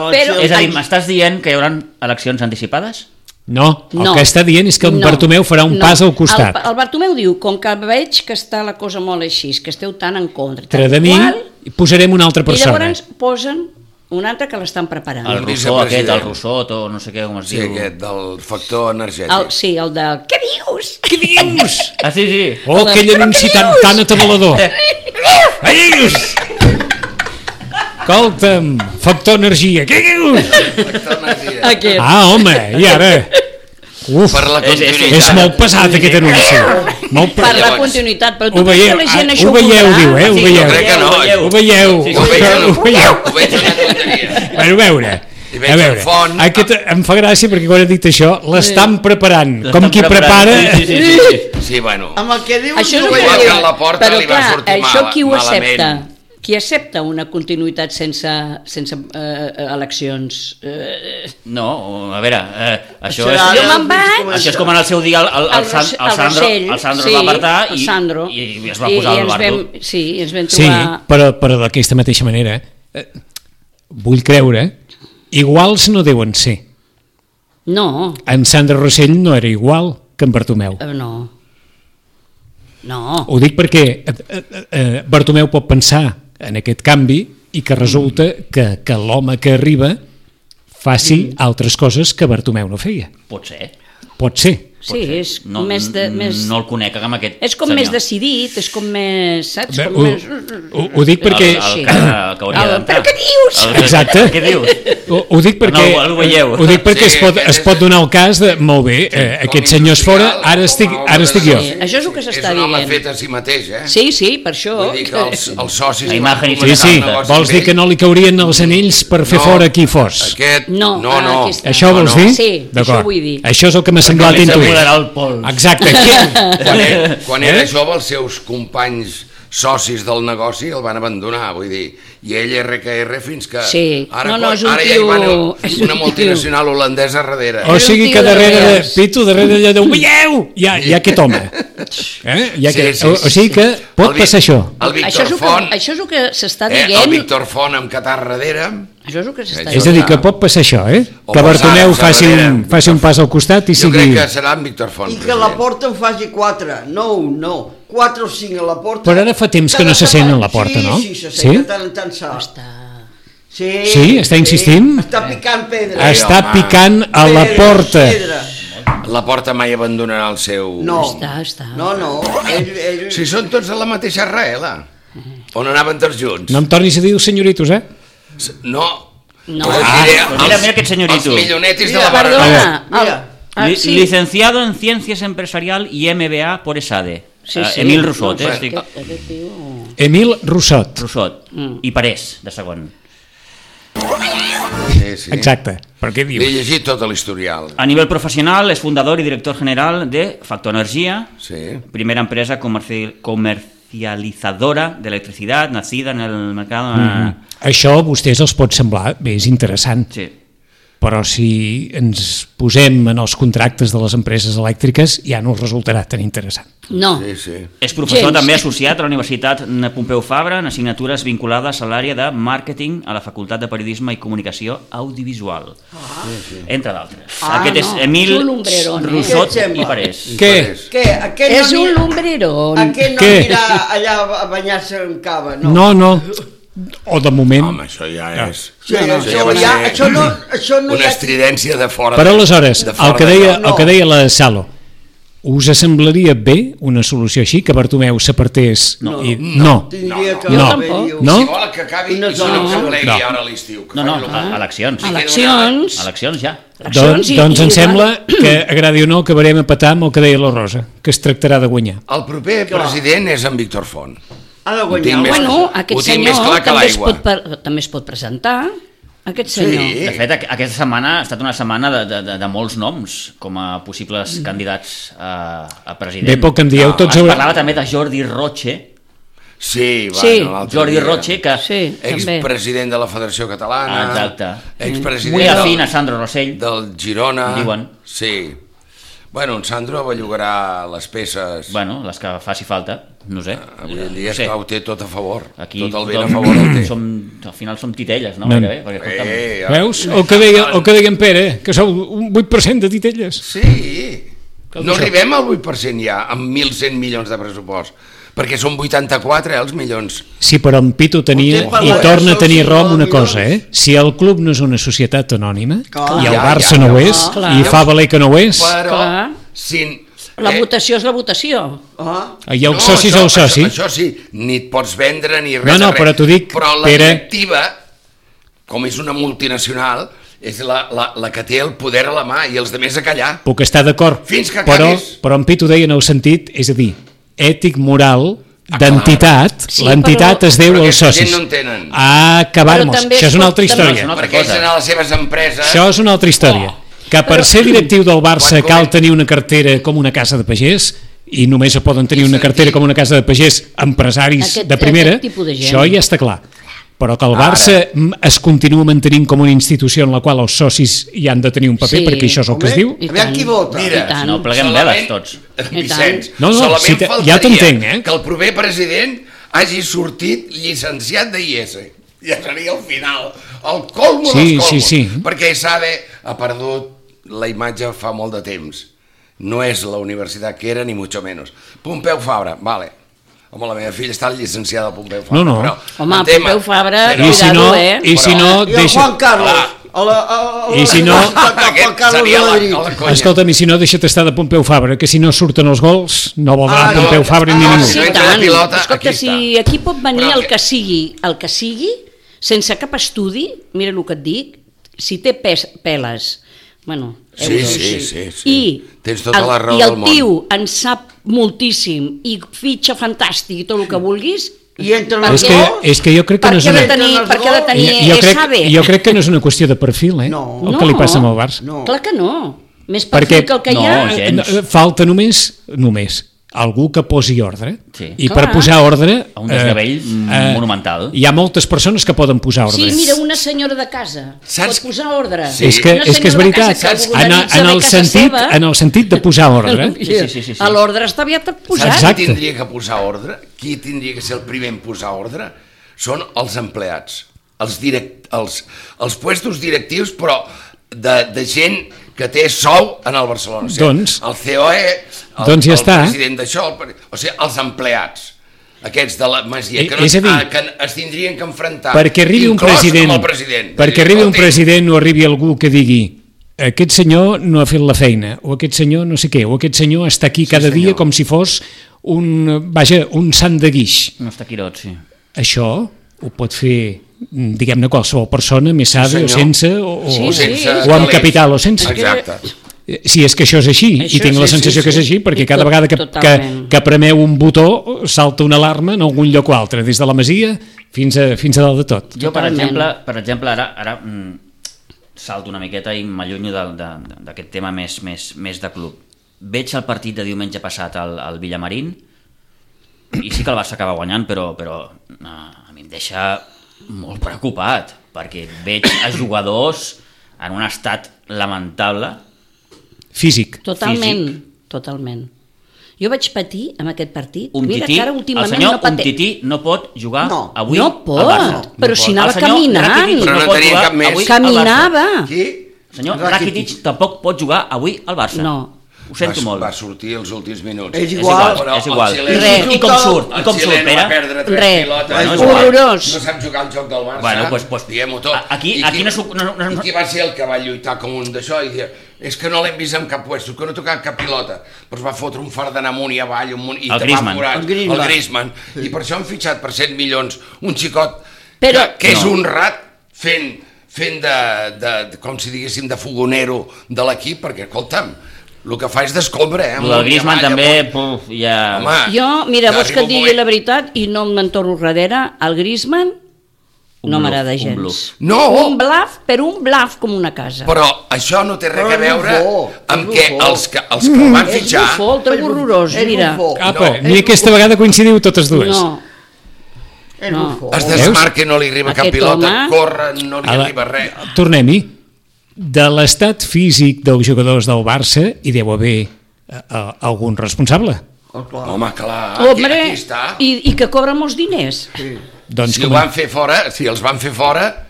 ja. doncs, elecció. Però, És a dir, m'estàs dient que hi haurà eleccions anticipades? No, el No. que està dient és que en No, Bartomeu farà un no. pas al costat. El, el Bartomeu diu, com que veig que està la cosa molt així, que esteu tan en contra, Entre de tal mi qual, i posarem una altra i persona. llavors posen un altre que l'estan preparant. El Un Rousseau aquest, vicepresident. el Rousseau, o no sé què, com es Sí, diu. aquest, del factor energètic. El, sí, el de... Què dius? (laughs) Què dius? Ah, sí, sí. Oh, aquell anunci tan, tan atabalador. Adiós! Escolta'm, factor energia. Què dius? Factor energètic. Aquest. Ah, home, i ara? Uf, Per la És- és- continuïtat. és molt pesat aquest anunci. Molt per pesat. la Llavors, continuïtat, però tu Ho creus veieu, que la gent ah, això ho veieu, voldrà? diu, eh? Ho Sí, veieu. crec que no, Ho veieu, Sí, sí, ho ho veig, veieu. (laughs) ho veig una tonteria. Bueno, a veure, I veig el font. aquest em fa gràcia perquè quan he dit això l'estan preparant, com qui prepara... Sí, sí, sí, sí, sí. Sí, bueno. Amb el que dius... Això és ho el que veig. que diu. Quan la porta Però li va clar, sortir això mal- qui ho malament. accepta? Qui accepta una continuïtat sense, sense eh, eleccions? Eh, No, a veure, eh, això, Serà- és... jo me'n vaig, Això és com en el seu dia el, el, el, San, Rossell- el Sandro, Rossell, el Sandro sí, es va apartar el i, Sandro. i, i es va posar I, i al ens bardo. vam, sí, i ens (laughs) vam Sí, trobar... però, però d'aquesta mateixa manera, eh, vull creure, iguals no deuen ser. No, En Sandra Rossell no era igual que en Bartomeu. eh, no. No. Oh, Ho dic perquè eh, eh, eh, Bartomeu pot pensar en aquest canvi i que resulta que, que l'home que arriba Mm. faci altres coses que Bartomeu no feia. Pot ser. Pot ser. Sí, és No, més de... Més... no el conec amb aquest És com senyor. més decidit, és com més, saps? Bé, com ho, més... ho, ho dic perquè... El, Sí. el, que, el que hauria El- d'entrar. però què dius? El que- Exacte. Què dius? Ho, ho dic perquè, No, no ho veieu. ho dic perquè Sí, es, pot, aquest es és- pot donar el cas de, molt bé, eh, Com aquest senyor és industrial, fora, ara com estic, a home ara de estic jo. negoci. Sí, això és el que s'està És un home dient. fet a si mateix, eh? Sí, sí, per això... Vull dir que els, els socis... La imagen i quan Sí, comença sí, el negoci vols dir vell, que no li caurien els anells per fer no, fora qui fos. Aquest, no, No, no. no. ah, aquesta. Això vols dir? Sí, D'acord. això vull dir. Això és el que m'ha semblat Comença a intuir. moderar el pols. (laughs) Exacte. Qui, (laughs) Quan, era, quan Eh? era jove els seus companys socis del negoci el van abandonar, vull dir, i ell RKR fins que... Sí. Ara, No, no, quan- és un ara tio- ja hi és va un una tio. multinacional holandesa darrere. o sigui tio que de darrere de... Reus. Pito, darrere d'allò de... Veieu! Hi ha, hi ha aquest (laughs) home. Eh? Hi ha Sí, aquest... sí, o, o sigui que pot El Vi- passar això. això, El Víctor és el que, Font, això és el que s'està eh, dient... el Víctor Font amb Qatar darrere, Això és el que s'està Això És dient. a dir, clar. que pot passar això, eh? O Que passar, Bartomeu passar faci darrere. un, faci un pas al costat i jo crec sigui... que serà en Víctor Font. I que la president. porta en faci 4, no un, no, 4 o 5 a la porta. Però ara fa temps que no se sent a la porta, sí, no? Sí, se sent, Sí? sí? de tant en tant se... Està... Sí, Sí, està insistint? Està picant pedra. Eh, Està home. picant a la Pedra, porta. Pedra. La porta mai abandonarà el seu... No. Està, està. No, no, ell, ell... Si són tots de la mateixa arrela, on anaven tots junts. No em tornis a dir els senyoritos, eh? S- No. No. Us Ah, diré doncs mira, els- mira aquest senyorito. Els milionetis de Mira, la barra. Perdona, Mira, el... Ah, Li- sí. Licenciado en Ciencias Empresarial i MBA por ESADE. Sí, Eh, sí. Emil Rousot, eh? No, però Estic... Aquest, aquest tio... Emil Rossot. Rousot. Mm. I Parés, de segon. Sí, sí. Exacte. Per què He dius? llegit tot l'historial. Ah. A nivel profesional és fundador i director general de Factor Energia, Sí. primera empresa comerci- comercializadora de electricidad nacida en el mercado... Mm-hmm. Això a vostès els pot semblar, bé, és interessant, Sí. però si ens posem en els contractes de les empreses elèctriques ja no els resultarà tan interessant. No, Sí, sí. És professor Gens. també associat a la Universitat Pompeu Fabra en assignatures vinculades a l'àrea de màrqueting a la Facultat de Periodisme i Comunicació Audiovisual, entre d'altres. Ah, Aquest és Ah. no. Emil És un lumbrerón, eh? Rousot Què et sembla? i Parés. Què? Parés. Què, aquest és no un anirà, lumbrerón. aquest no Què? anirà allà a banyar-se en cava, no? No, no. O de moment... Home, això Ah. ja és... Sí, no, això això, va ja, ser això no, això no hi Una ha... estridència de fora. Però aleshores, de fora el que, de deia, lloc. el que deia la Salo, us semblaria bé una solució així, que Bartomeu s'apartés? No. I... no. Tindria que No. haver-hi un- No? Si vol que acabi No, i se no. n'emplegui No. ara a l'estiu. que No, faci no, el que a- eleccions. Eleccions. Eleccions ja. Doncs, i- doncs i- em sembla que, agradi o no, acabarem a petar amb el que deia la Rosa, que es tractarà de guanyar. El proper president és en Víctor Font. Ha de Tinc guanyar. més- Bueno, Bueno, Ho aquest tinc més senyor clar que també es, l'aigua. pot, per- també es pot presentar, aquest senyor. Sí. De fet, aqu- aquesta setmana ha estat una setmana de, de, de, de molts noms com a possibles Mm. candidats a, a president. Ah, Bé, poc que em dieu, No, tots Es haurà... parlava també de Jordi Roche, Sí, va, Sí. no, l'altre Jordi dia. Roche, que Sí, també. Expresident de la Federació Catalana. Ah, exacte. Expresident muy afín a del, Sandro Rossell. del Girona. Diuen. Sí. Bueno, en Sandro bellugarà les peces. Bueno, les que faci falta, no sé. Ah, Avui en dia, no sé. esclar, ho té tot a favor. Aquí tot el vent a tothom- favor el té. Som, al final som titelles, no? No. Gairebé, perquè, escolta'm, Eh, Veus? El que, deia, Doncs- el que deia en Pere, que sou un 8% de titelles. Sí. Cal No això. arribem al 8% ja, amb 1.100 milions de pressupost, perquè són 84 eh, els milions. Sí, però en Pito tenia, Potser per i la torna a Gasol, tenir si raó amb vol, una millor. cosa, eh? Si el club no és una societat anònima, Clar. i el Ja, Barça ja, no ho ja. és, Clar. i fa valer que no ho és, Però, Clar. si... eh? La votació és la votació. ah, i els socis això, al soci... Això, això sí, ni et pots vendre ni res. No, no, de res. però t'ho dic, Però la Pere- directiva, com és una multinacional, és la, la, la que té el poder a la mà i els de més a callar. Puc estar d'acord, Fins que però, acabis. però en Pitu deia en el sentit, és a dir, ètic, moral, d'entitat, Sí, l'entitat però- es deu Però als aquesta gent socis. no en tenen. A acabar-nos. Però també Això és es Ah, una pot- altra també- història. No, Perquè ells cosa. anar a les seves empreses... Això és una altra història. Que per ser directiu del Barça Quan cal comen- tenir una cartera com una casa de pagès i només se poden tenir una sentir- cartera com una casa de pagès empresaris Aquest- de primera, aquest tipus de gent. això ja està clar. Però que el Ara. Barça mm, es continua mantenint com una institució en la qual els socis hi han de tenir un paper, Sí. perquè això és el que es diu. I Aviam tant. qui vota. Mira, I tant. No, pleguem Solament- veles tots. Vicenç, No, no, solament si te- ja faltaria t'entenc, eh? Que el proper president hagi sortit llicenciat d'IS. Ja seria el final. El colmo Sí, dels colmos. sí, sí. Perquè Sade ha perdut la imatge fa molt de temps. No és la universitat que era, ni mucho menos. Pompeu Fabra, vale. Home, la meva filla està llicenciada a Pompeu Fabra. No, no. Però, Home, el tema- Pompeu Fabra, Però- I si no, Cuidado, eh? i si no, I el deixa... Juan Carlos. Clar. A la, a, a, a I si no- Juan Carlos de seria la- Madrid. la conya. Escolta'm, i si no, deixa't estar de Pompeu Fabra, que si no surten els gols, no valdrà Ah, no. Pompeu Fabra ni Ah, ningú. si Sí, no i entra la tant. pilota, Escolta, aquí aquí si està. aquí pot venir Però el que- que sigui, el que sigui, sense cap estudi, mira el que et dic, si té pes, peles, bueno, Sí, sí, sí, sí. I, Tens tota el, la raó i el del món. tio en sap moltíssim i fitxa fantàstic i tot el que vulguis, I entren Per els És que, gols. és que jo crec que per no és què ha una... de tenir, per què ha de tenir, Jo, jo, eh, crec, sabe? jo crec que no és una qüestió de perfil, eh? No. El que li passa amb el Barça. Eh, No. Clar que no. Més perfil que el que hi ha... no, gens. no, falta només només algú que posi ordre Sí. i Clar. per posar ordre eh, A un desgavell monumental. hi ha moltes persones que poden posar ordre Sí, mira, una senyora de casa. Saps- Pot posar ordre. Sí. és que, Una és, que és senyora de veritat casa que en, organitza en, bé el casa sentit, seva. en el sentit eh? de posar ordre Sí, (laughs) sí, sí, sí, sí. A l'ordre està aviat posat. Saps Exacte. qui tindria que posar ordre? Qui tindria que ser el primer en posar ordre? Són els empleats, els, direct, els, els puestos directius, però de, de gent que té sou en el Barcelona. O sigui, Doncs- el COE, el, Doncs ja el està. president d'això, el pre- o sigui, els empleats aquests de la Masia, I- que, no, Eh, és a dir, ah, que es tindrien que enfrontar, perquè arribi un inclòs president, amb el president. perquè arribi un Escolti, president o arribi algú que digui aquest senyor no ha fet la feina, o aquest senyor no sé què, o aquest senyor està aquí cada dia senyor. com si fos un, vaja, un sant de guix. No està quirot, sí. Això ho pot fer mm, diguem-ne qualsevol persona, més savi o senyor. sense o, o, Sí, o sí. sense o amb calés. capital o sense. Exacte. Eh, si és que això és així, Això i tinc sí, la sí, sensació sí. que és així, perquè I cada tot- vegada que, que, totalment. que premeu un botó salta una alarma en algun lloc o altre, des de la masia fins a, fins a dalt de tot. Jo, per Totalment. exemple, per exemple ara, ara mm, salto una miqueta i m'allunyo del- de- d'aquest tema més, més, més de club. Veig el partit de diumenge passat al, al Villamarín i sí que el Barça acaba guanyant, però, però eh, a mi em deixa molt preocupat, perquè veig a jugadors en un estat lamentable. Físic. Totalment, totalment. Jo vaig patir amb aquest partit. Un Mira tití, que ara el últimament senyor no paté. Umtiti no pot jugar No, avui no al pot, Barça. però si anava El senyor caminant. Rakitic Però no pot tenia jugar cap més. avui al Barça. Caminava. Qui? Senyor Rakitic. Rakitic tampoc pot jugar avui al Barça. No. Ho sento va, molt. Va sortir els últims minuts. És És igual, igual, però és igual. el xilè- Res. I com surt, i El com surt, xileno va Pere? perdre tres Res. pilotes. Bueno, és igual. horrorós. No sap jugar al joc del Barça. Bueno, pues- pues- Diguem-ho tot. a- aquí- I aquí qui- no s'ho- no- no- I qui va ser el que va lluitar com un d'això i dir, és que no l'hem vist en cap puesto, que no ha tocat cap pilota. Però es va fotre un fart d'anar amunt i avall, amunt, i El te va Griezmann. forat. El Griezmann. El Griezmann. I per això han fitxat per 100 milions un xicot Però- que, que és No. honrat fent fent de, de, de, com si diguéssim, de fogonero de l'equip, perquè, escolta'm, el que fa és d'escombra, eh? El amunt i Griezmann avall, també, amunt. puf, ja... Home, Jo, mira, Ah. ja vols que arriba et un digui moment- la veritat i no me'n torno darrere, el Griezmann Un no bluff, m'agrada un gens. bluff. No! Un blaf, però un blaf com una casa. Però això no té res Però a veure és bufó, amb és que bufó. els que, els que el van Mm. és fitxar... bufó, el trobo horrorós, És mira. bufó. Apa, No, Ah, eh, ni aquesta vegada coincidiu totes dues. No, Ah, És No. bufó. Es Veus? desmarca, no li arriba cap Aquest pilota, home- corre, no li A la- arriba res. Tornem-hi. De l'estat físic dels jugadors del Barça hi deu haver eh, eh, algun responsable. Oh, clar. Home, clar, aquí, Hombre, aquí està. i, i que cobra molts diners. Doncs Si ho com... van fer fora, si els van fer fora,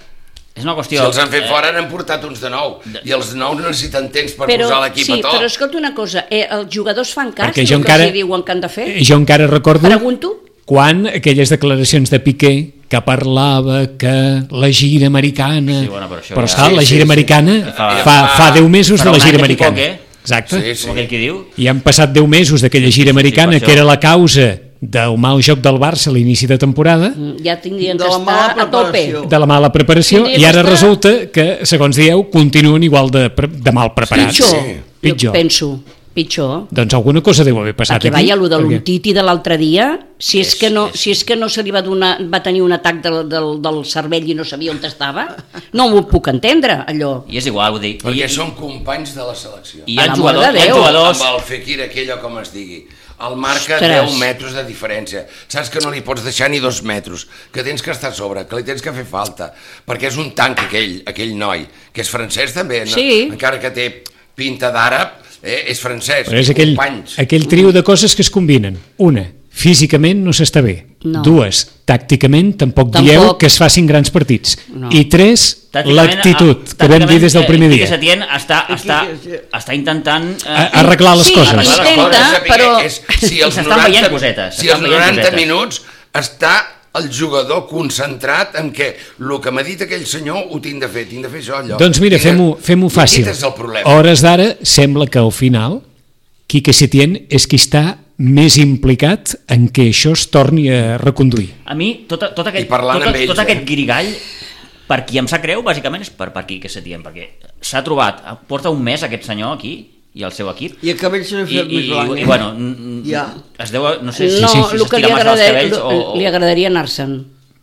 És una si qüestió... eh, els han fet fora n'han portat uns de nou. I els nous necessiten temps per però, posar l'equip sí, a tot. però escolta una cosa, eh, els jugadors fan cas Perquè del jo que encara- eh, els hi diuen que han de fer? Jo encara recordo... Pregunto. Quan aquelles declaracions de Piqué que parlava que la gira americana... Sí, bueno, però això ja- esclar, Sí, la sí, gira sí. americana Fa- fa, fa 10 mesos Fa de un la any gira que aquí americana. poc, eh? Exacte. Sí, sí. Com aquell que diu... I han passat 10 mesos d'aquella gira americana per això. que era la causa del mal joc del Barça a l'inici de temporada, Mm, Ja tindrien De que la mala estar a tope. preparació. de la mala preparació, Tindria i que ara estar- resulta que, segons dieu, continuen igual de, pre- de mal preparats. Pitjor, Sí. jo Pitjor. penso. pitjor. Doncs alguna cosa deu haver passat aquí. Perquè vaja, allò de perquè- l'Untiti de l'altre dia, si és, És- que no, és- si és que no se li va, donar, va tenir un atac del, del, del cervell i no sabia on estava, no m'ho puc entendre, allò. I és igual, vull dir... Perquè i, són companys de la selecció. I hi A ha la jugadors, mort de hi ha Déu. jugadors... Amb el Fekir aquell o com es digui. El marca Ostres. 10 metres de diferència. Saps que no li pots deixar ni dos metres, que tens que estar a sobre, que li tens que fer falta, perquè és un tanc aquell, aquell noi, que és francès també, no? Sí. encara que té pinta d'àrab, eh, és francès, Però és aquell, companys. aquell trio de coses que es combinen. Una, físicament no s'està bé. No. Dues, tàcticament tampoc, Tampoc. dieu que es facin grans partits. No. I tres, Tàcticament, l'actitud, ah, que vam dir tàcticament, des del eh, primer Quique dia. Setién està, està, està intentant... eh, A- Arreglar les Sí, coses. Arreglar les intenta, coses, saber però- què És, si I els s'estan 90, veient cosetes, Si s'estan els veient 90 cosetes. minuts està el jugador concentrat en que el que m'ha dit aquell senyor ho tinc de fer, tinc de fer això, allò. Doncs mira, Tinc de- fem-ho fem I fàcil. Aquest és el A problema. hores d'ara sembla que al final Quique Setién és qui està més implicat en que això es torni a reconduir. A mi, tot, tot, I aquest, parlant tot, amb ells, tot eh? aquest guirigall, per qui em sap greu, bàsicament, és per, per qui que se diem, perquè s'ha trobat, porta un mes aquest senyor aquí, i el seu equip, I el cabell se n'ha i, fet i, més blanc. eh? i bueno, n- n- Ja. es deu, no sé si No, si el que s'estira li, massa els agrada, cabells o... o... li agradaria anar-se'n.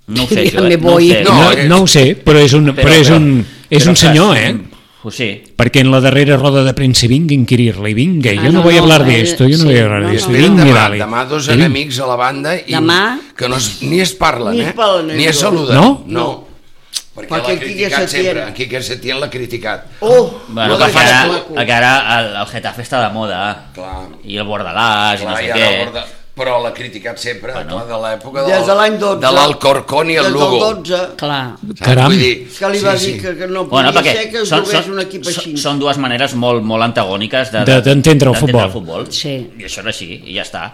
No ho sé, Diria, jo, eh? me no ho voy. sé. No, No, eh, no ho sé, però és un, però és un, és però, un senyor, clar, eh? Ho sé. Porque en la darrera roda de prensa i vinga a inquirir-la i vinga, Ah, jo no, no, voy a no, hablar eh, de esto, yo no sí, voy a hablar no, de no. esto. Espera, Vinga, demà, dale. demà dos I vinga. enemics a la banda i Demà? que no es, ni es parlen, Ni eh? es parlen, ni es ells dos. saluden. No? No. Perquè, Perquè l'ha en Quique criticat Setién. sempre, en Quique Setién l'ha criticat. Oh, Bueno, no que, deixa ara, de maco. que ara el, el Getafe està de moda. Clar. I el Bordalàs, i no Clar, sé ja què. recorda, però l'ha criticat sempre, clar, de l'època del- Des de l'any 12. de l'Alcorcón i el Lugo. Des del 12. Clar. Saps? Caram. Vull dir, Que li va dir que, que no podia Bueno, perquè ser que es són, jugués són, un equip així. són- són dues maneres molt, molt antagòniques De- de- de- d'entendre el d'entendre futbol. futbol. Sí. I això és així, i ja està.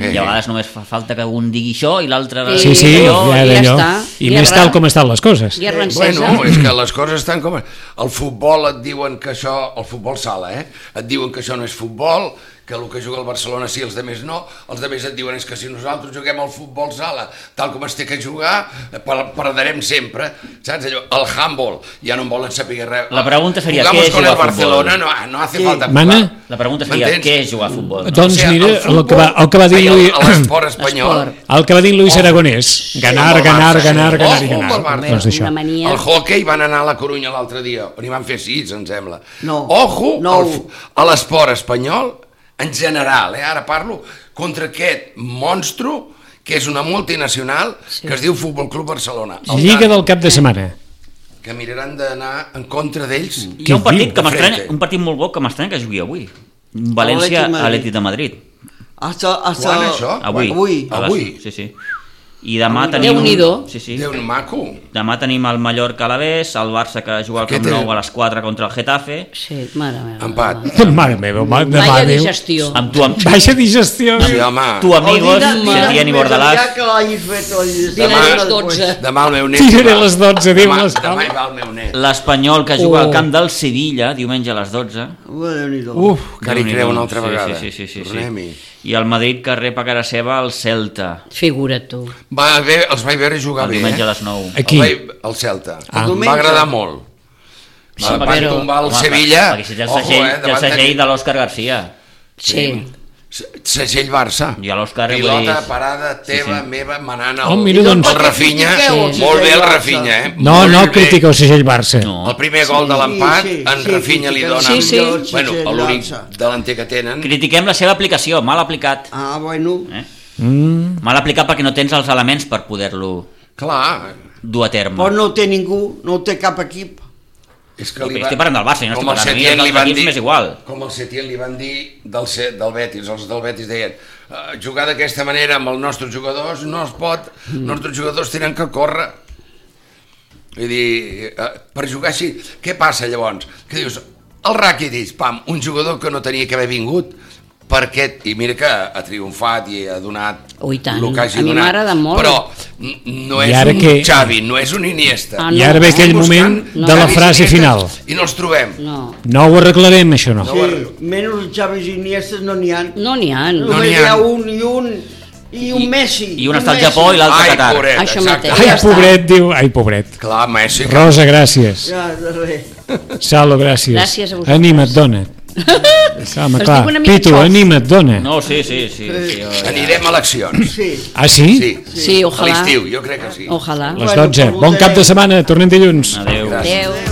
Eh. I a vegades només fa falta que un digui això i l'altre... Sí, Sí, sí, Allò, ja, ja d'allò. està. I Ja més va. tal com estan les coses. Guerra encesa. Eh, Bueno, és que les coses estan com... El futbol et diuen que això... El futbol sala, eh? Et diuen que això no és futbol, que el que juga el Barcelona sí, els de més no. Els de més et diuen és que si nosaltres juguem al futbol sala tal com es té que jugar, eh, per, perdrem sempre. Saps allò? El handball, ja no en volen saber res. La pregunta seria, Jugamos què és con jugar el a futbol? Barcelona, no, no hace falta jugar. Mana? La pregunta seria, M'entens? què és jugar a futbol? No? Doncs O sigui, mira, el el que va, el que va dir Ai, el- Luis, (clears throat) L'esport espanyol. Esport. el que va dir Oh. Luis Aragonès, ganar, amb el ganar, Barça, ganar, sí. ganar i Oh, amb el ganar. Barça. Doncs això. Una mania. El hockey van anar a la Corunya l'altre dia, on hi van fer sis, em sembla. No. Ojo No. al fu- a l'esport espanyol, en general, eh? ara parlo, contra aquest monstru que és una multinacional sí. que es diu Futbol Club Barcelona. El Lliga Dant, del cap de setmana. (laughs) Que miraran d'anar en contra d'ells. Hi ha un Què partit, diu? que m'estranya, Frente. un partit molt bo que m'estranya que es jugui avui. València, Atlètic Madrid. Atlètic de Madrid. Hasta, hasta... Quan, això? Avui. Avui. A les- Avui? Sí, sí. I demà tenim... Déu-n'hi-do. Sí, sí. Déu, maco. Demà tenim el Mallorca a la Bes, el Barça que juga al Aquest Camp Nou és- a les 4 contra el Getafe. Sí, mare meva. Empat. Mare meva, mare de Vaya mare Déu. digestió. Amb tu, amb, Baixa digestió. Sí, home. tu amigos, O dinar- dinar Setién i més Bordalàs. enllà que l'hagis fet el Dinar dinar les després. 12. Demà el meu net. Tiraré hi va. les 12, Déu Demà, les salvi. demà hi va el meu net. L'Espanyol que juga Oh. al camp del Sevilla diumenge a les 12. Ua, Déu-n'hi-do. Uf, que li Déu-n'hi-do. creu una altra sí, vegada. Sí, sí, sí, sí, Tornem-hi. sí. I el Madrid que rep a cara seva el Celta Figura't tu. Va, bé, els vaig veure jugar el bé, diumenge eh? a les 9. Aquí. El, vaig- el Celta. Ah. Ah. Em va Diumenge. agradar molt. Sí, Va, van perquè- tombar el home, Sevilla. Perquè si té el Ojo, segell, eh, té el davant segell de- de l'Òscar Garcia. Sí. Se- Segell Barça. I a l'Òscar vull Pilota, dir- parada, teva, sí. meva, manant el, Oh, mira, doncs- el Rafinha. Critiqueu el Molt bé el Segell Barça. Rafinha, eh? No, Molt no bé. critiqueu el segell Barça. No. El primer gol de l'empat, en Rafinha li dona... Sí, sí. Bueno, Segell l'únic Barça. delanter que tenen. Critiquem la seva aplicació, mal aplicat. Ah, bueno. Eh? Mm. Mal aplicat perquè no tens els elements per poder-lo Clar, dur a terme. Però no ho té ningú, no ho té cap equip. és que Però li va... estic parlant del Barça, jo no estic com el parlant de mi, els Setién li altres van equips dir- m'és igual. Com el Setién li van dir del, Se- del Betis, els del Betis deien "Eh, jugar d'aquesta manera amb els nostres jugadors no es pot, els nostres jugadors tenen que córrer. Vull dir, eh, per jugar així, què passa llavors? Que dius, el Rakitic, pam, un jugador que no tenia que haver vingut, per aquest, i mira que ha triomfat i ha donat Oh, i tant. el que hagi A mi donat, m'agrada molt. però n- no I és ara un que- Xavi, no és un Iniesta. Ah, I ara ve aquell moment no. de la Xavi frase Iniesta, final. I no els trobem. No. No ho arreglarem, això no. No. Sí, guardo. menys els Xavis i Iniestes no n'hi ha. No n'hi ha. No n'hi Només ha. hi ha un i un i un I- Messi. i un està al Messi. Japó i l'altre a Ai, Qatar. pobret, Això exacte. mateix. Ai, Ja està. pobret, diu. Ai, pobret. Clar, Messi. Rosa, gràcies. Ja, de res. Salo, gràcies. Gràcies a vosaltres. (laughs) Anima't, dona. Calma, Es clar. diu una mica Pitu, xof. anima't, dona. No, sí, sí, sí. sí, jo ja- Anirem a eleccions. Sí. Ah, sí? Sí. Sí, ojalà. A l'estiu, jo crec que sí. Ojalà. Les Bueno, 12. com Bon cap de votarem. setmana. Tornem dilluns. Adéu. Gràcies. Adéu.